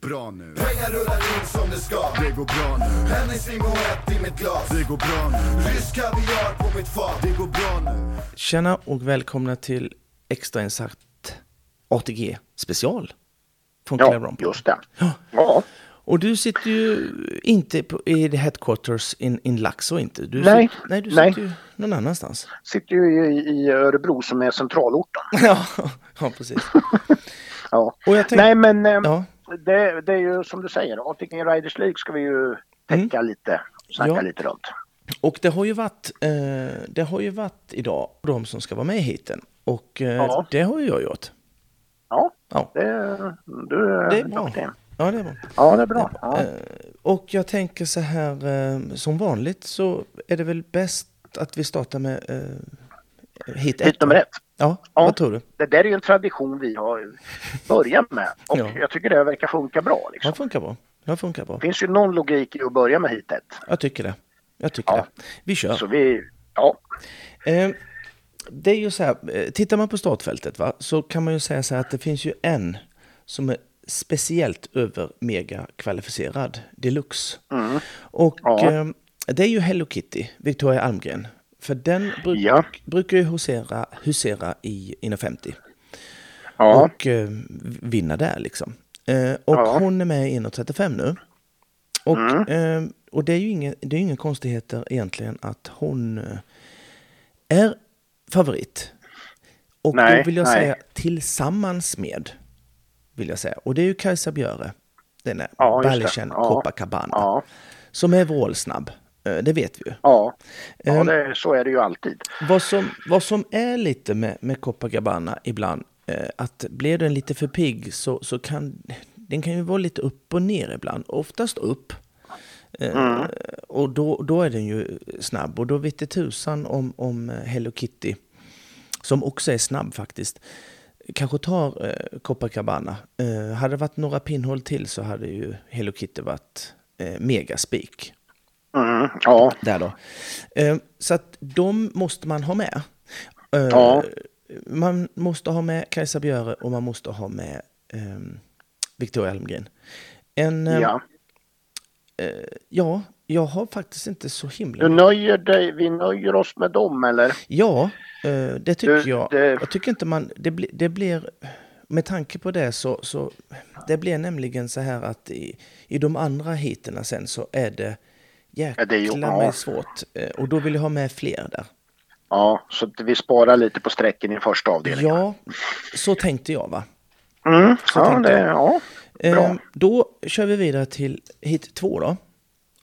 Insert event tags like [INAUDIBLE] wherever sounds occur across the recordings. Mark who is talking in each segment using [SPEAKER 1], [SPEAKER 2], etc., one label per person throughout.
[SPEAKER 1] bra nu.
[SPEAKER 2] Pengar rullar in som det ska.
[SPEAKER 1] Det går bra nu.
[SPEAKER 2] Hennessy Moët i mitt glas.
[SPEAKER 1] Det går bra nu.
[SPEAKER 2] Rysk kaviar på mitt fat.
[SPEAKER 1] Det går bra nu.
[SPEAKER 3] Tjena och välkomna till extrainsatt ATG special från ja,
[SPEAKER 4] Ja,
[SPEAKER 3] Clairon.
[SPEAKER 4] just det. Ja.
[SPEAKER 3] Och du sitter ju inte på, i the headquarters in, in Laxå inte. Du
[SPEAKER 4] Nej,
[SPEAKER 3] Sitter, nej, du
[SPEAKER 4] nej.
[SPEAKER 3] sitter ju någon annanstans. [LAUGHS]
[SPEAKER 4] Sitter ju i, i Örebro som är centralorten.
[SPEAKER 3] ja, ja, precis.
[SPEAKER 4] Ja.
[SPEAKER 3] Och jag tänkte,
[SPEAKER 4] Nej men eh,
[SPEAKER 3] ja,
[SPEAKER 4] det, det är ju som du säger, ATG Riders League ska vi ju täcka lite, snacka
[SPEAKER 3] Mm. Ja.
[SPEAKER 4] lite runt.
[SPEAKER 3] och det har ju varit, eh, det har ju varit idag de som ska vara med i heaten. Och eh,
[SPEAKER 4] Ja.
[SPEAKER 3] det har ju jag gjort.
[SPEAKER 4] Ja,
[SPEAKER 3] Ja,
[SPEAKER 4] det, du
[SPEAKER 3] det är bra.
[SPEAKER 4] duktig.
[SPEAKER 3] Ja, det är bra.
[SPEAKER 4] Ja, det är bra. Ja.
[SPEAKER 3] Eh, Och jag tänker så här, eh, som vanligt så är det väl bäst att vi startar med eh, hit ett.
[SPEAKER 4] Hit nummer ett.
[SPEAKER 3] Ja,
[SPEAKER 4] Ja.
[SPEAKER 3] vad tror du?
[SPEAKER 4] Det där är ju en tradition vi har börjat med och
[SPEAKER 3] Ja.
[SPEAKER 4] jag tycker det verkar funka bra. Liksom.
[SPEAKER 3] Det funkar bra. Det funkar bra.
[SPEAKER 4] Det finns ju någon logik i att börja med hit ett.
[SPEAKER 3] Jag tycker det. Jag tycker
[SPEAKER 4] Ja.
[SPEAKER 3] det. Vi kör.
[SPEAKER 4] Så vi, ja,
[SPEAKER 3] Eh, det är ju så här, eh, tittar man på startfältet va, så kan man ju säga så här att det finns ju en som är speciellt över mega kvalificerad deluxe. Och
[SPEAKER 4] Mm. Ja.
[SPEAKER 3] eh, det är ju Hello Kitty, Victoria Almgren. För den bruk,
[SPEAKER 4] Ja.
[SPEAKER 3] brukar ju husera, husera i Inner 50
[SPEAKER 4] ja,
[SPEAKER 3] och eh, vinna där liksom. Eh, och
[SPEAKER 4] Ja. Mm.
[SPEAKER 3] hon är med i 1.35 nu. Och, eh, och det är ju ingen, det är ju ingen konstigheter egentligen att hon eh, är favorit. Och
[SPEAKER 4] Nej,
[SPEAKER 3] då vill jag
[SPEAKER 4] nej.
[SPEAKER 3] säga tillsammans med, vill jag säga. Och det är ju Kajsa Björe, den är
[SPEAKER 4] Ja, just det.
[SPEAKER 3] Berlchen
[SPEAKER 4] Ja.
[SPEAKER 3] Copacabana,
[SPEAKER 4] Ja.
[SPEAKER 3] som är vrålsnabb. Eh, det vet vi ju.
[SPEAKER 4] ja. ja
[SPEAKER 3] Ehm.
[SPEAKER 4] det, så är det ju alltid.
[SPEAKER 3] Vad som, vad som är lite med, med Copacabana ibland, eh, att blir den lite för pigg så, så kan den kan ju vara lite upp och ner ibland, oftast upp. Eh, Och då, då är den ju snabb och då vet det tusan om, om eh, Hello Kitty, som också är snabb faktiskt, kanske tar eh, Copacabana. Eh, hade det varit några pinnhål till så hade ju Hello Kitty varit eh, megaspik
[SPEAKER 4] Mm, ja,
[SPEAKER 3] där då. Eh, Så att de måste man ha med. Eh,
[SPEAKER 4] Ja.
[SPEAKER 3] Man måste ha med Kajsa Björe och man måste ha med eh, Victoria Almgren. En, eh,
[SPEAKER 4] ja.
[SPEAKER 3] ja, jag har faktiskt inte så himla...
[SPEAKER 4] Du nöjer dig, vi nöjer oss med dem eller?
[SPEAKER 3] Ja, eh, det tycker
[SPEAKER 4] Du,
[SPEAKER 3] jag.
[SPEAKER 4] det-
[SPEAKER 3] Jag tycker inte man... Det, bli, det blir... Med tanke på det så, så... Det blir nämligen så här att i, i de andra heaterna sen så är det jäkla
[SPEAKER 4] det är ju- ja.
[SPEAKER 3] mig svårt. Eh, Och då vill jag ha med fler där.
[SPEAKER 4] Ja, så att vi sparar lite på sträcken i första avdelningen.
[SPEAKER 3] Ja, så tänkte jag va.
[SPEAKER 4] Mm, ja,
[SPEAKER 3] tänkte
[SPEAKER 4] det,
[SPEAKER 3] jag.
[SPEAKER 4] ja,
[SPEAKER 3] Eh,
[SPEAKER 4] bra.
[SPEAKER 3] då kör vi vidare till hit två då.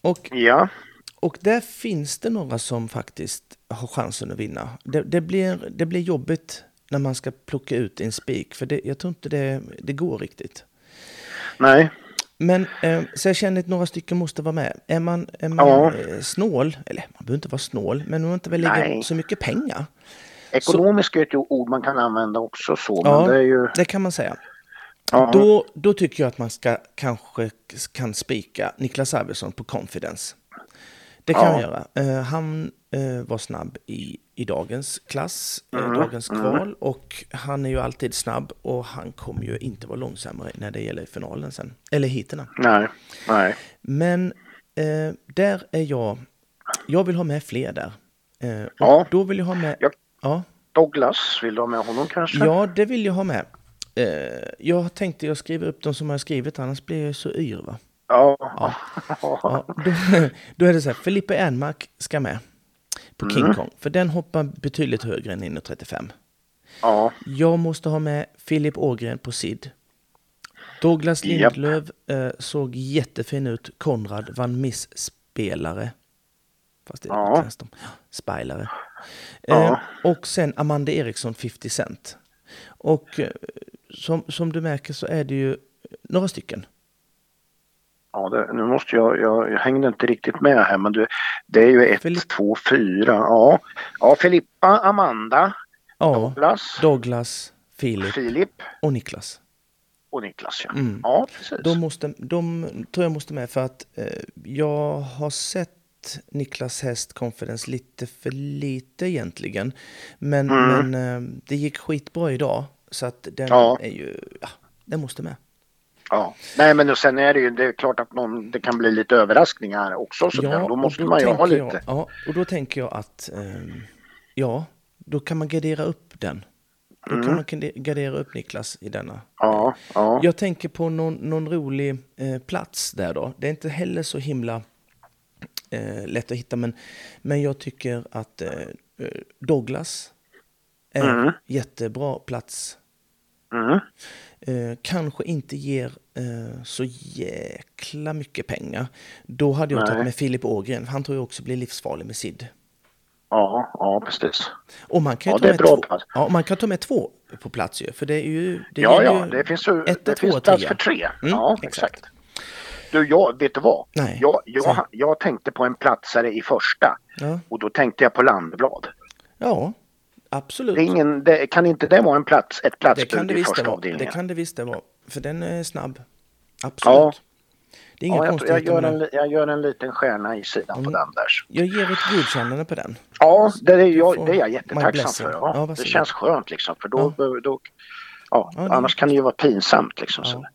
[SPEAKER 3] Och,
[SPEAKER 4] Ja,
[SPEAKER 3] och där finns det några som faktiskt har chansen att vinna. Det, det, blir, det blir jobbigt när man ska plocka ut en spik, för det, jag tror inte det, det går riktigt.
[SPEAKER 4] nej,
[SPEAKER 3] Men eh, så jag känner att några stycken måste vara med. Är man, är man
[SPEAKER 4] Ja.
[SPEAKER 3] eh, snål, eller man behöver inte vara snål, men man inte vill lägga
[SPEAKER 4] Nej.
[SPEAKER 3] så mycket pengar.
[SPEAKER 4] ekonomisk är ett ord man kan använda också så,
[SPEAKER 3] Ja,
[SPEAKER 4] men det är ju...
[SPEAKER 3] det kan man säga.
[SPEAKER 4] Ja,
[SPEAKER 3] Då, då tycker jag att man ska, kanske kan spika Niklas Arvidsson på confidence. Det kan
[SPEAKER 4] Ja.
[SPEAKER 3] jag göra. Eh, han eh, var snabb i, i dagens klass, eh,
[SPEAKER 4] Mm,
[SPEAKER 3] dagens kval. Och han är ju alltid snabb och han kommer ju inte vara långsammare när det gäller finalen sen. Eller heaterna.
[SPEAKER 4] nej, nej.
[SPEAKER 3] Men eh, där är jag... Jag vill ha med fler där. Eh, och
[SPEAKER 4] Ja.
[SPEAKER 3] Då vill jag ha med...
[SPEAKER 4] Jag-
[SPEAKER 3] Ja.
[SPEAKER 4] Douglas, vill du ha med honom kanske?
[SPEAKER 3] Ja, det vill jag ha med. Eh, jag tänkte jag skriver upp de som jag har skrivit, annars blir jag ju så yr. Va?
[SPEAKER 4] Ja.
[SPEAKER 3] Ja, då, [LAUGHS] då är det så här, Filippe Ernmark ska med på King Kong, för den hoppar betydligt högre än 35.
[SPEAKER 4] [LAUGHS] ja.
[SPEAKER 3] Jag måste ha med Filip Ågren på SID. Douglas
[SPEAKER 4] Japp.
[SPEAKER 3] Lindlöf eh, såg jättefin ut. Konrad Van Miss-spelare. Fast det är
[SPEAKER 4] Ja.
[SPEAKER 3] ja. nästan. Spelare. Eh,
[SPEAKER 4] Ja.
[SPEAKER 3] och sen Amanda Eriksson, 50 Cent. Och eh, som, som du märker så är det ju några stycken.
[SPEAKER 4] Ja, det, nu måste jag, jag, jag hängde inte riktigt med här men du, det är ju
[SPEAKER 3] Filipp-
[SPEAKER 4] ett, två, fyra. Ja, ja Filippa, Amanda,
[SPEAKER 3] Ja,
[SPEAKER 4] Douglas,
[SPEAKER 3] Douglas, Filip
[SPEAKER 4] Filip
[SPEAKER 3] och Niklas.
[SPEAKER 4] och Niklas ja. Ja, precis.
[SPEAKER 3] Mm. De, måste, de tror jag måste med för att eh, jag har sett Niklas häst Confidence lite för lite egentligen. Men, men eh, det gick skitbra idag så att den
[SPEAKER 4] Mm. Ja.
[SPEAKER 3] är ju, ja, den måste med.
[SPEAKER 4] Ja. Nej men och sen är det ju det är klart att någon, det kan bli lite överraskningar också. Så där. då
[SPEAKER 3] och
[SPEAKER 4] måste
[SPEAKER 3] då
[SPEAKER 4] man ju ha
[SPEAKER 3] tänker jag-
[SPEAKER 4] lite.
[SPEAKER 3] Ja, och då tänker jag att ehm, ja, då kan man gardera upp den. Då
[SPEAKER 4] Mm.
[SPEAKER 3] kan man garde- gardera upp Niklas i denna.
[SPEAKER 4] Ja, ja.
[SPEAKER 3] Jag tänker på någon, någon rolig eh, plats där då. Det är inte heller så himla eh, lätt att hitta, men, men jag tycker att eh, eh, Douglas är en jättebra plats.
[SPEAKER 4] Mm.
[SPEAKER 3] Eh, kanske inte ger eh, så jäkla mycket pengar. Då hade jag tagit med Filip Ågren. Han tror jag också blir livsfarlig med Sid.
[SPEAKER 4] Ja, ja precis.
[SPEAKER 3] Och man kan ju
[SPEAKER 4] Ja,
[SPEAKER 3] ta
[SPEAKER 4] det är
[SPEAKER 3] med
[SPEAKER 4] bra
[SPEAKER 3] två.
[SPEAKER 4] plats.
[SPEAKER 3] Ja, man kan ta med två på plats ju. För det är ju... Det
[SPEAKER 4] ja,
[SPEAKER 3] gäller
[SPEAKER 4] ja,
[SPEAKER 3] ju
[SPEAKER 4] det finns, ju,
[SPEAKER 3] etta,
[SPEAKER 4] det finns
[SPEAKER 3] tvåa,
[SPEAKER 4] plats
[SPEAKER 3] trea.
[SPEAKER 4] för tre.
[SPEAKER 3] Mm,
[SPEAKER 4] ja, exakt. Du, jag, vet du vad?
[SPEAKER 3] Nej.
[SPEAKER 4] Jag,
[SPEAKER 3] Säg.
[SPEAKER 4] jag, jag tänkte på en platsare i första
[SPEAKER 3] Ja.
[SPEAKER 4] och då tänkte jag på Landblad.
[SPEAKER 3] Ja, absolut.
[SPEAKER 4] Det är ingen, det, kan inte det vara en plats, ett
[SPEAKER 3] Det kan
[SPEAKER 4] platsbud
[SPEAKER 3] det
[SPEAKER 4] i
[SPEAKER 3] visst det
[SPEAKER 4] första
[SPEAKER 3] vara.
[SPEAKER 4] avdelningen?
[SPEAKER 3] Det kan det visst det vara. För den är snabb. Absolut.
[SPEAKER 4] Ja.
[SPEAKER 3] Det Mm. är inga
[SPEAKER 4] ja, jag, jag,
[SPEAKER 3] konstigheter
[SPEAKER 4] gör
[SPEAKER 3] med den.
[SPEAKER 4] en, li- jag gör en liten stjärna i sidan på den där.
[SPEAKER 3] Jag ger ett godkännande på den.
[SPEAKER 4] Ja, det är,
[SPEAKER 3] får
[SPEAKER 4] jag, det är jag
[SPEAKER 3] my
[SPEAKER 4] jättetacksam
[SPEAKER 3] blessing.
[SPEAKER 4] för.
[SPEAKER 3] Ja,
[SPEAKER 4] Ja.
[SPEAKER 3] vad
[SPEAKER 4] det
[SPEAKER 3] fint.
[SPEAKER 4] känns skönt liksom för då, då, ja,
[SPEAKER 3] Ja, det-
[SPEAKER 4] annars kan det ju vara pinsamt liksom. Så.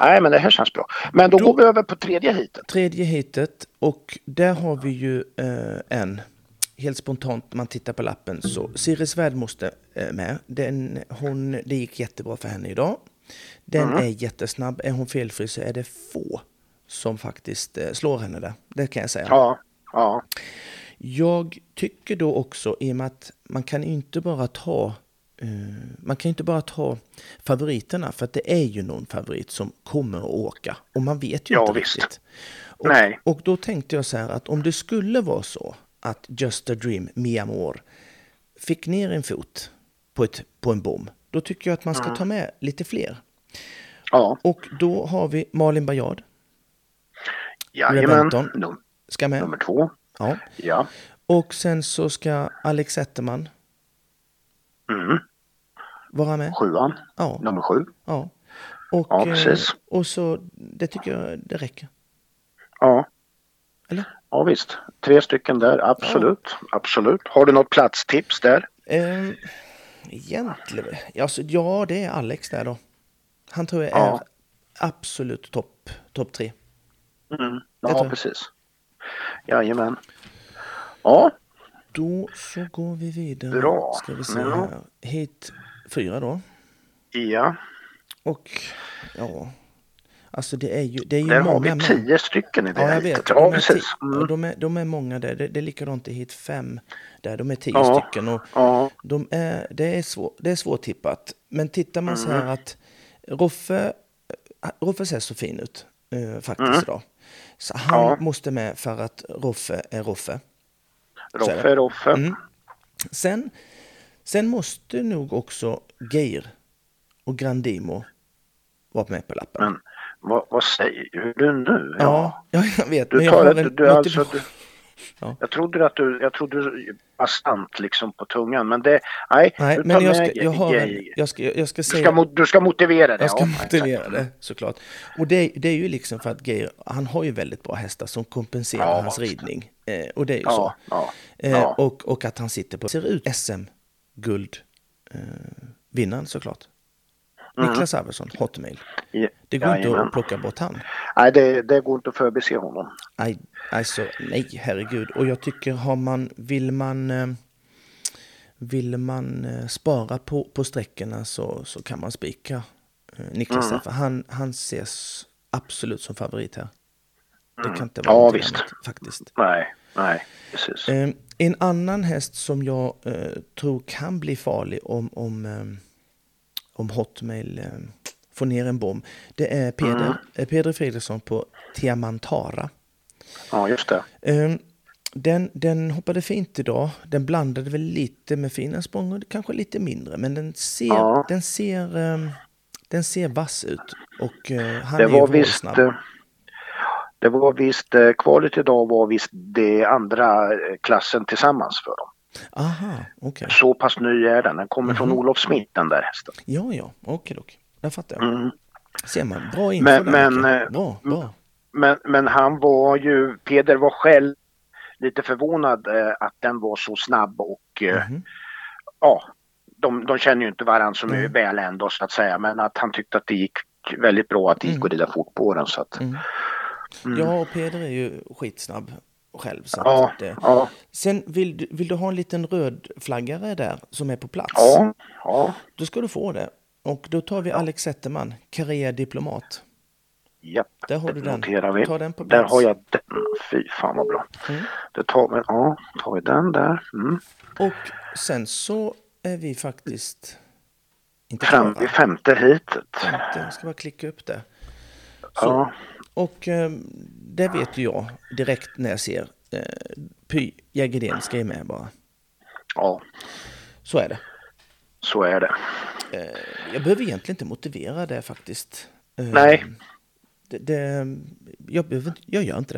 [SPEAKER 4] Nej men det här känns bra. Men då, går vi över på tredje heatet.
[SPEAKER 3] Tredje heatet och där har vi ju eh, en. Helt spontant när man tittar på lappen så Siri Svärdmoster eh, med. Den, hon, det gick jättebra för henne idag. Den
[SPEAKER 4] Mm.
[SPEAKER 3] är jättesnabb. Är hon felfri så är det få som faktiskt eh, slår henne där. Det kan jag säga.
[SPEAKER 4] Ja, ja,
[SPEAKER 3] Jag tycker då också, i och med att man kan ju inte bara ta eh, man kan ju inte bara ta favoriterna, för att det är ju någon favorit som kommer att åka. Och man vet ju
[SPEAKER 4] Ja,
[SPEAKER 3] inte
[SPEAKER 4] visst.
[SPEAKER 3] riktigt. Och,
[SPEAKER 4] Nej.
[SPEAKER 3] och då tänkte jag så här att om det skulle vara så att Just a Dream, Mi Amor, fick ner en fot på, ett, på en bom, då tycker jag att man
[SPEAKER 4] Mm.
[SPEAKER 3] ska ta med lite fler.
[SPEAKER 4] ja.
[SPEAKER 3] Och då har vi Malin Bajard,
[SPEAKER 4] Jajamän.
[SPEAKER 3] Reventon.
[SPEAKER 4] Num-
[SPEAKER 3] ska med.
[SPEAKER 4] nummer två.
[SPEAKER 3] Ja.
[SPEAKER 4] Ja.
[SPEAKER 3] Och sen så ska Alex Zetterman
[SPEAKER 4] Mm.
[SPEAKER 3] vara med.
[SPEAKER 4] Sjuan.
[SPEAKER 3] Ja.
[SPEAKER 4] Nummer sju.
[SPEAKER 3] Ja. Och,
[SPEAKER 4] Ja,
[SPEAKER 3] eh,
[SPEAKER 4] precis.
[SPEAKER 3] och så, det tycker jag det räcker.
[SPEAKER 4] Ja.
[SPEAKER 3] Eller?
[SPEAKER 4] ja, visst. Tre stycken där, absolut. Absolut. Har du något platstips där?
[SPEAKER 3] Ehm, egentligen, alltså, ja det är Alex där då. Han tror jag är
[SPEAKER 4] Ja.
[SPEAKER 3] absolut topp top tre.
[SPEAKER 4] Mm.
[SPEAKER 3] tror
[SPEAKER 4] Ja,
[SPEAKER 3] jag.
[SPEAKER 4] precis. Jajamän. Ja,
[SPEAKER 3] Då så går vi vidare.
[SPEAKER 4] Bra.
[SPEAKER 3] Ska vi se
[SPEAKER 4] Ja.
[SPEAKER 3] här. Hit fyra då.
[SPEAKER 4] ja.
[SPEAKER 3] Och ja, alltså det är ju, det är ju
[SPEAKER 4] Där
[SPEAKER 3] många
[SPEAKER 4] har vi
[SPEAKER 3] med.
[SPEAKER 4] tio stycken i det
[SPEAKER 3] Ja,
[SPEAKER 4] här
[SPEAKER 3] jag
[SPEAKER 4] heatet.
[SPEAKER 3] vet.
[SPEAKER 4] Ja,
[SPEAKER 3] de, är ti-
[SPEAKER 4] precis.
[SPEAKER 3] ja,
[SPEAKER 4] Mm.
[SPEAKER 3] de, är, de är många där. Det, det är likadant i hit fem. Där de är tio
[SPEAKER 4] Ja.
[SPEAKER 3] stycken. Och
[SPEAKER 4] Ja.
[SPEAKER 3] de är, det, är svår, det är svårtippat. Men tittar man så här
[SPEAKER 4] Mm.
[SPEAKER 3] att Roffe, Roffe ser så fin ut eh, faktiskt idag. Så han
[SPEAKER 4] Mm. Ja.
[SPEAKER 3] måste med för att Roffe är Roffe. Så Mm. är
[SPEAKER 4] Roffe,
[SPEAKER 3] det.
[SPEAKER 4] Roffe.
[SPEAKER 3] Sen, sen måste nog också Geir och Grandimo vara med på lappen.
[SPEAKER 4] Men vad, vad säger du nu?
[SPEAKER 3] Ja, ja, [LAUGHS] jag vet. men
[SPEAKER 4] Du
[SPEAKER 3] jag
[SPEAKER 4] tar
[SPEAKER 3] har
[SPEAKER 4] ett,
[SPEAKER 3] en
[SPEAKER 4] du, alltså,
[SPEAKER 3] motivation.
[SPEAKER 4] du,
[SPEAKER 3] Ja.
[SPEAKER 4] Jag trodde att du, jag trodde du bastant liksom på tungan, men det, nej.
[SPEAKER 3] Nej,
[SPEAKER 4] du tar
[SPEAKER 3] men jag ska,
[SPEAKER 4] med
[SPEAKER 3] jag har en,
[SPEAKER 4] gej.
[SPEAKER 3] jag ska, jag ska
[SPEAKER 4] Du ska,
[SPEAKER 3] säga...
[SPEAKER 4] mo- du ska motivera det.
[SPEAKER 3] Jag ska
[SPEAKER 4] ja.
[SPEAKER 3] motivera det såklart. Och det, det är ju liksom för att Geir, han har ju väldigt bra hästar som kompenserar
[SPEAKER 4] Ja,
[SPEAKER 3] hans
[SPEAKER 4] visst.
[SPEAKER 3] ridning. Eh, och det är ju
[SPEAKER 4] Ja,
[SPEAKER 3] så.
[SPEAKER 4] ja,
[SPEAKER 3] eh,
[SPEAKER 4] ja.
[SPEAKER 3] Och, och att han sitter på, ser ut SM-guldvinnaren såklart. Niklas Arvidsson, Hotmail.
[SPEAKER 4] Ja,
[SPEAKER 3] Det går inte
[SPEAKER 4] Mm. jajamän.
[SPEAKER 3] att plocka bort han.
[SPEAKER 4] Nej, det, det går inte att förbise honom.
[SPEAKER 3] Aj, alltså, nej, herregud. Och jag tycker, har man, vill man, eh, vill man eh, spara på, på sträckorna så, så kan man spika eh, Niklas
[SPEAKER 4] Mm.
[SPEAKER 3] där, för han, han ses absolut som favorit här. Det kan inte vara
[SPEAKER 4] Mm. Ja,
[SPEAKER 3] något
[SPEAKER 4] visst.
[SPEAKER 3] annat, faktiskt.
[SPEAKER 4] Nej, nej, precis.
[SPEAKER 3] Eh, En annan häst som jag eh, tror kan bli farlig om, om, eh, om Hotmail eh, får ner en bomb, det är Peder,
[SPEAKER 4] Mm.
[SPEAKER 3] eh, Peder Fredriksson på Tiamantara.
[SPEAKER 4] Ja, just det.
[SPEAKER 3] Ehm, Den, den hoppade fint idag. Den blandade väl lite med fina språng och kanske lite mindre. Men den ser,
[SPEAKER 4] Ja.
[SPEAKER 3] den ser, ehm, den ser vass ut. Och eh, han
[SPEAKER 4] Det
[SPEAKER 3] är ju
[SPEAKER 4] var visst...
[SPEAKER 3] vrålsnabb.
[SPEAKER 4] eh, Det var visst, eh, kvalet idag var visst det andra eh, klassen tillsammans för dem.
[SPEAKER 3] Aha, okej.
[SPEAKER 4] Så pass ny är den. Den kommer
[SPEAKER 3] Mhm.
[SPEAKER 4] från Olof Smith den där hästen.
[SPEAKER 3] Ja, ja, okej då. Där fattar jag. Ser man, bra info
[SPEAKER 4] Mm. Men-
[SPEAKER 3] där,
[SPEAKER 4] men,
[SPEAKER 3] Micke.
[SPEAKER 4] eh,
[SPEAKER 3] Bra, bra.
[SPEAKER 4] Men, men han var ju, Peder var själv lite förvånad eh, att den var så snabb och eh,
[SPEAKER 3] Mm. Mhm. Mm.
[SPEAKER 4] ja, de, de känner ju inte varandra som är väl ändå så att säga men att han tyckte att det gick gick väldigt bra att det
[SPEAKER 3] Mm.
[SPEAKER 4] gick att rida fort på den. Så att,
[SPEAKER 3] Ja, och Peder är ju skitsnabb själv. Så
[SPEAKER 4] Mm. Ja,
[SPEAKER 3] att, eh,
[SPEAKER 4] ja.
[SPEAKER 3] Sen vill du, vill du ha en liten röd flaggare där som är på plats?
[SPEAKER 4] ja, ja,
[SPEAKER 3] Då ska du få det. Och då tar vi Alex Zetterman, karriärdiplomat.
[SPEAKER 4] japp.
[SPEAKER 3] Där har du den.
[SPEAKER 4] Noterar vi.
[SPEAKER 3] Ta den på
[SPEAKER 4] där
[SPEAKER 3] plats. Mm.
[SPEAKER 4] har jag den. Fy fan vad bra. Då tar vi, ja, tar vi den där. Mm.
[SPEAKER 3] Och sen så är vi faktiskt... Inte
[SPEAKER 4] Fram
[SPEAKER 3] klara.
[SPEAKER 4] i femte heatet.
[SPEAKER 3] Vänta, Jag ska bara klicka upp det.
[SPEAKER 4] Ja,
[SPEAKER 3] Och eh, det vet ju jag direkt när jag ser eh, Py Jägerdén ska ju med bara.
[SPEAKER 4] ja,
[SPEAKER 3] Så är det.
[SPEAKER 4] så är det.
[SPEAKER 3] Eh, jag behöver egentligen inte motivera det faktiskt. Eh,
[SPEAKER 4] Nej.
[SPEAKER 3] Det, det, jag, behöver, inte- jag gör inte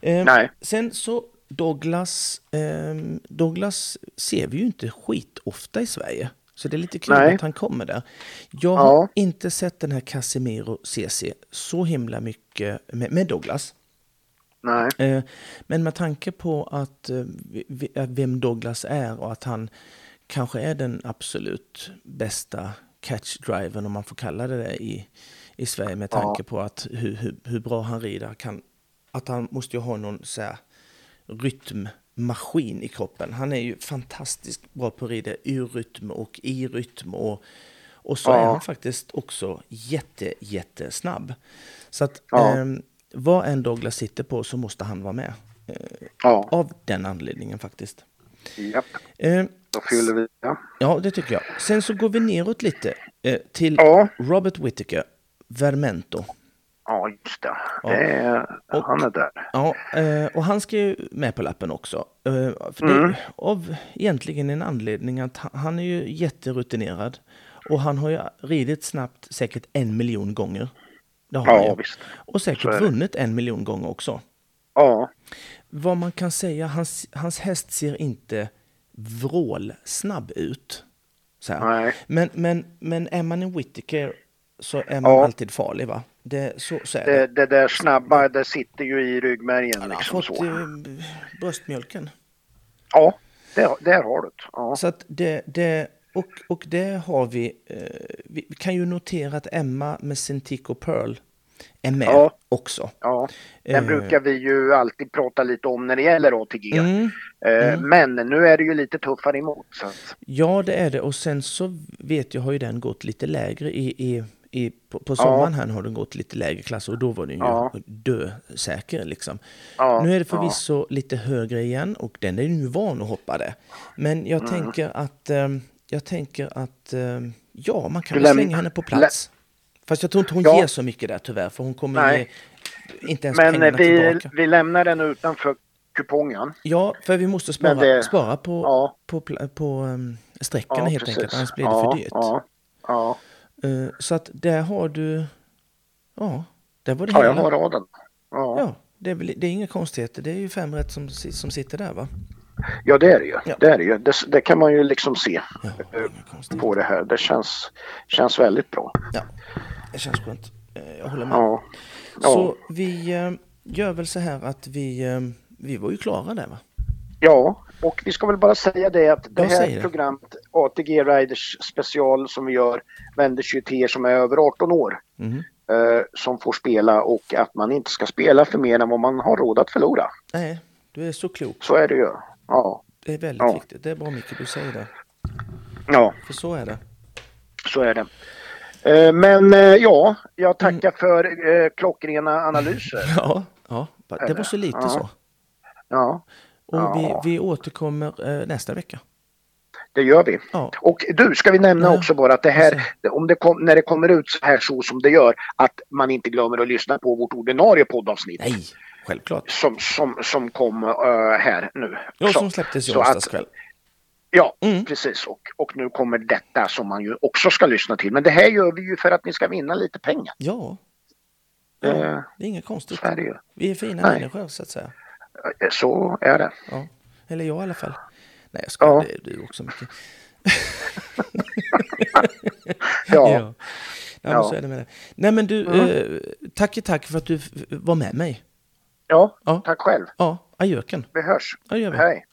[SPEAKER 3] det. Eh,
[SPEAKER 4] Nej.
[SPEAKER 3] Sen så Douglas, eh, Douglas ser vi ju inte skitofta i Sverige. Så det är lite kul
[SPEAKER 4] Nej.
[SPEAKER 3] att han kommer där. Jag
[SPEAKER 4] Ja.
[SPEAKER 3] har inte sett den här Casemiro CC så himla mycket med, med Douglas.
[SPEAKER 4] Nej,
[SPEAKER 3] Eh, Men med tanke på att eh, vi- vi- att vem Douglas är och att han kanske är den absolut bästa catchdriven, om man får kalla det det, i, i Sverige med tanke på att hur, hur, hur bra han rider. Kan, att han måste ju ha någon så här, rytmmaskin i kroppen. Han är ju fantastiskt bra på att rida ur rytm och i rytm. Och, och så är han faktiskt också jätte, jättesnabb. Så att
[SPEAKER 4] Ja.
[SPEAKER 3] ehm, vad än Douglas sitter på så måste han vara med. Eh,
[SPEAKER 4] ja,
[SPEAKER 3] av den anledningen faktiskt.
[SPEAKER 4] japp.
[SPEAKER 3] Eh,
[SPEAKER 4] Då fyller vi. Ja.
[SPEAKER 3] ja, det tycker jag. Sen så går vi neråt lite eh, till
[SPEAKER 4] Ja.
[SPEAKER 3] Robert Whittaker, Vermento.
[SPEAKER 4] Ja, just det. det är,
[SPEAKER 3] Och-
[SPEAKER 4] han är där.
[SPEAKER 3] Ja, eh, och han ska ju med på lappen också. Eh, För det,
[SPEAKER 4] Mm.
[SPEAKER 3] Av egentligen en anledning att han- han är ju jätterutinerad. Och han har ju ridit snabbt säkert en miljon gånger. Det har
[SPEAKER 4] Ja,
[SPEAKER 3] han ju.
[SPEAKER 4] visst.
[SPEAKER 3] Och
[SPEAKER 4] Så är
[SPEAKER 3] säkert
[SPEAKER 4] det.
[SPEAKER 3] vunnit en miljon gånger också.
[SPEAKER 4] Ja,
[SPEAKER 3] Vad man kan säga, hans, hans häst ser inte vrålsnabb ut. Så här.
[SPEAKER 4] Nej.
[SPEAKER 3] Men, men, men är man en Whittaker så är man
[SPEAKER 4] Ja.
[SPEAKER 3] alltid farlig va? Det, så, så är det.
[SPEAKER 4] det, liksom det där snabba, det sitter ju i ryggmärgen
[SPEAKER 3] Han har
[SPEAKER 4] liksom
[SPEAKER 3] fått
[SPEAKER 4] så.
[SPEAKER 3] eh, bröstmjölken.
[SPEAKER 4] Ja, där, där har du det. Ja.
[SPEAKER 3] Så att det, det, och, och det har vi, eh, vi. Vi kan ju notera att Emma med sin Tico Pearl är med
[SPEAKER 4] Ja.
[SPEAKER 3] också.
[SPEAKER 4] Ja, den
[SPEAKER 3] Eh.
[SPEAKER 4] brukar vi ju alltid prata lite om när det gäller ATG.
[SPEAKER 3] Mm.
[SPEAKER 4] Eh, Men nu är det ju lite tuffare emot. Så att,
[SPEAKER 3] Ja, det är det. Och sen så vet jag har ju den gått lite lägre i... i i, på, på sommaren här har den gått lite lägre klass och då var den ju
[SPEAKER 4] Ja.
[SPEAKER 3] dösäker. Liksom.
[SPEAKER 4] Ja,
[SPEAKER 3] Nu är det
[SPEAKER 4] ja.
[SPEAKER 3] förvisso lite högre igen och den är ju van att hoppa det. Men jag
[SPEAKER 4] Mm.
[SPEAKER 3] tänker att, ehm, jag tänker att ehm, ja, man kan
[SPEAKER 4] Du
[SPEAKER 3] väl
[SPEAKER 4] läm-
[SPEAKER 3] slänga henne på
[SPEAKER 4] lä-
[SPEAKER 3] plats. Fast jag tror inte hon
[SPEAKER 4] Ja.
[SPEAKER 3] ger så mycket där tyvärr, för hon kommer ju
[SPEAKER 4] Nej.
[SPEAKER 3] inte ens
[SPEAKER 4] men eh,
[SPEAKER 3] pengarna
[SPEAKER 4] vi,
[SPEAKER 3] tillbaka.
[SPEAKER 4] vi lämnar den utanför kupongen.
[SPEAKER 3] Ja, för vi måste spara,
[SPEAKER 4] Men det-
[SPEAKER 3] spara på,
[SPEAKER 4] ja.
[SPEAKER 3] på, pla- på, ehm,
[SPEAKER 4] Ja,
[SPEAKER 3] sträckorna helt enkelt, annars blir det
[SPEAKER 4] ja,
[SPEAKER 3] för dyrt.
[SPEAKER 4] Ja, ja.
[SPEAKER 3] Eh, Så att där har du... Ja, där var det
[SPEAKER 4] ja jag
[SPEAKER 3] hela.
[SPEAKER 4] har raden. Ja. Ja.
[SPEAKER 3] Ja, det är, väl, det är inga konstigheter. Det är ju fem rätt som, si- som sitter där, va?
[SPEAKER 4] det är det ju.
[SPEAKER 3] Ja.
[SPEAKER 4] Det, är det, ju. Det, det kan man ju liksom se
[SPEAKER 3] Ja, det är inga
[SPEAKER 4] eh,
[SPEAKER 3] konstigheter.
[SPEAKER 4] på det här. Det känns, känns väldigt bra.
[SPEAKER 3] Ja, det känns skönt. Eh, Jag håller med.
[SPEAKER 4] Ja.
[SPEAKER 3] Så vi eh, gör väl så här att vi... eh, Vi var ju klara där, va?
[SPEAKER 4] Ja, och vi ska väl bara säga det att det
[SPEAKER 3] Jag säger
[SPEAKER 4] här
[SPEAKER 3] det.
[SPEAKER 4] programmet, ATG Riders special som vi gör, vänder sig till er som är över 18 år.
[SPEAKER 3] Mm.
[SPEAKER 4] Eh, som får spela och att man inte ska spela för mer än vad man har råd att förlora.
[SPEAKER 3] Nej, du är så klok.
[SPEAKER 4] Så är det ju. Ja,
[SPEAKER 3] Det är väldigt
[SPEAKER 4] Ja.
[SPEAKER 3] viktigt. Det är bra, Micke, du säger det.
[SPEAKER 4] ja
[SPEAKER 3] För så är det.
[SPEAKER 4] så är det. Eh, men eh, ja, jag tackar
[SPEAKER 3] Mm.
[SPEAKER 4] för eh, klockrena analyser.
[SPEAKER 3] Ja, ja det var så lite så.
[SPEAKER 4] Ja,
[SPEAKER 3] Och vi, vi återkommer eh, nästa vecka.
[SPEAKER 4] det gör vi.
[SPEAKER 3] Ja.
[SPEAKER 4] Och du, ska vi nämna
[SPEAKER 3] Ja.
[SPEAKER 4] också bara att det här,
[SPEAKER 3] Alltså.
[SPEAKER 4] om det kom, när det kommer ut så här så som det gör, att man inte glömmer att lyssna på vårt ordinarie poddavsnitt.
[SPEAKER 3] Nej, självklart.
[SPEAKER 4] som, som, som kom eh, här nu.
[SPEAKER 3] Ja,
[SPEAKER 4] Så-
[SPEAKER 3] som släpptes i
[SPEAKER 4] så
[SPEAKER 3] onsdags
[SPEAKER 4] att-
[SPEAKER 3] kväll.
[SPEAKER 4] Ja,
[SPEAKER 3] Mm.
[SPEAKER 4] precis. Och, och nu kommer detta som man ju också ska lyssna till. Men det här gör vi ju för att ni ska vinna lite pengar.
[SPEAKER 3] Ja.
[SPEAKER 4] Eh,
[SPEAKER 3] ja. Det är inget konstigt.
[SPEAKER 4] så är det ju.
[SPEAKER 3] Vi är fina
[SPEAKER 4] Nej.
[SPEAKER 3] människor så att säga.
[SPEAKER 4] Eh, Så är det.
[SPEAKER 3] Ja. Eller jag i alla fall. Nej, jag skojar.
[SPEAKER 4] Ja.
[SPEAKER 3] Det är du också mycket.
[SPEAKER 4] Ja, ja. Mm.
[SPEAKER 3] Ja. Nej, men så är det med det. Nej, men du, eh, tack i tack för att du f- var med mig. Ja.
[SPEAKER 4] tack själv.
[SPEAKER 3] Ja, adjöken.
[SPEAKER 4] Vi hörs.
[SPEAKER 3] Ja, gör vi.
[SPEAKER 4] Hej.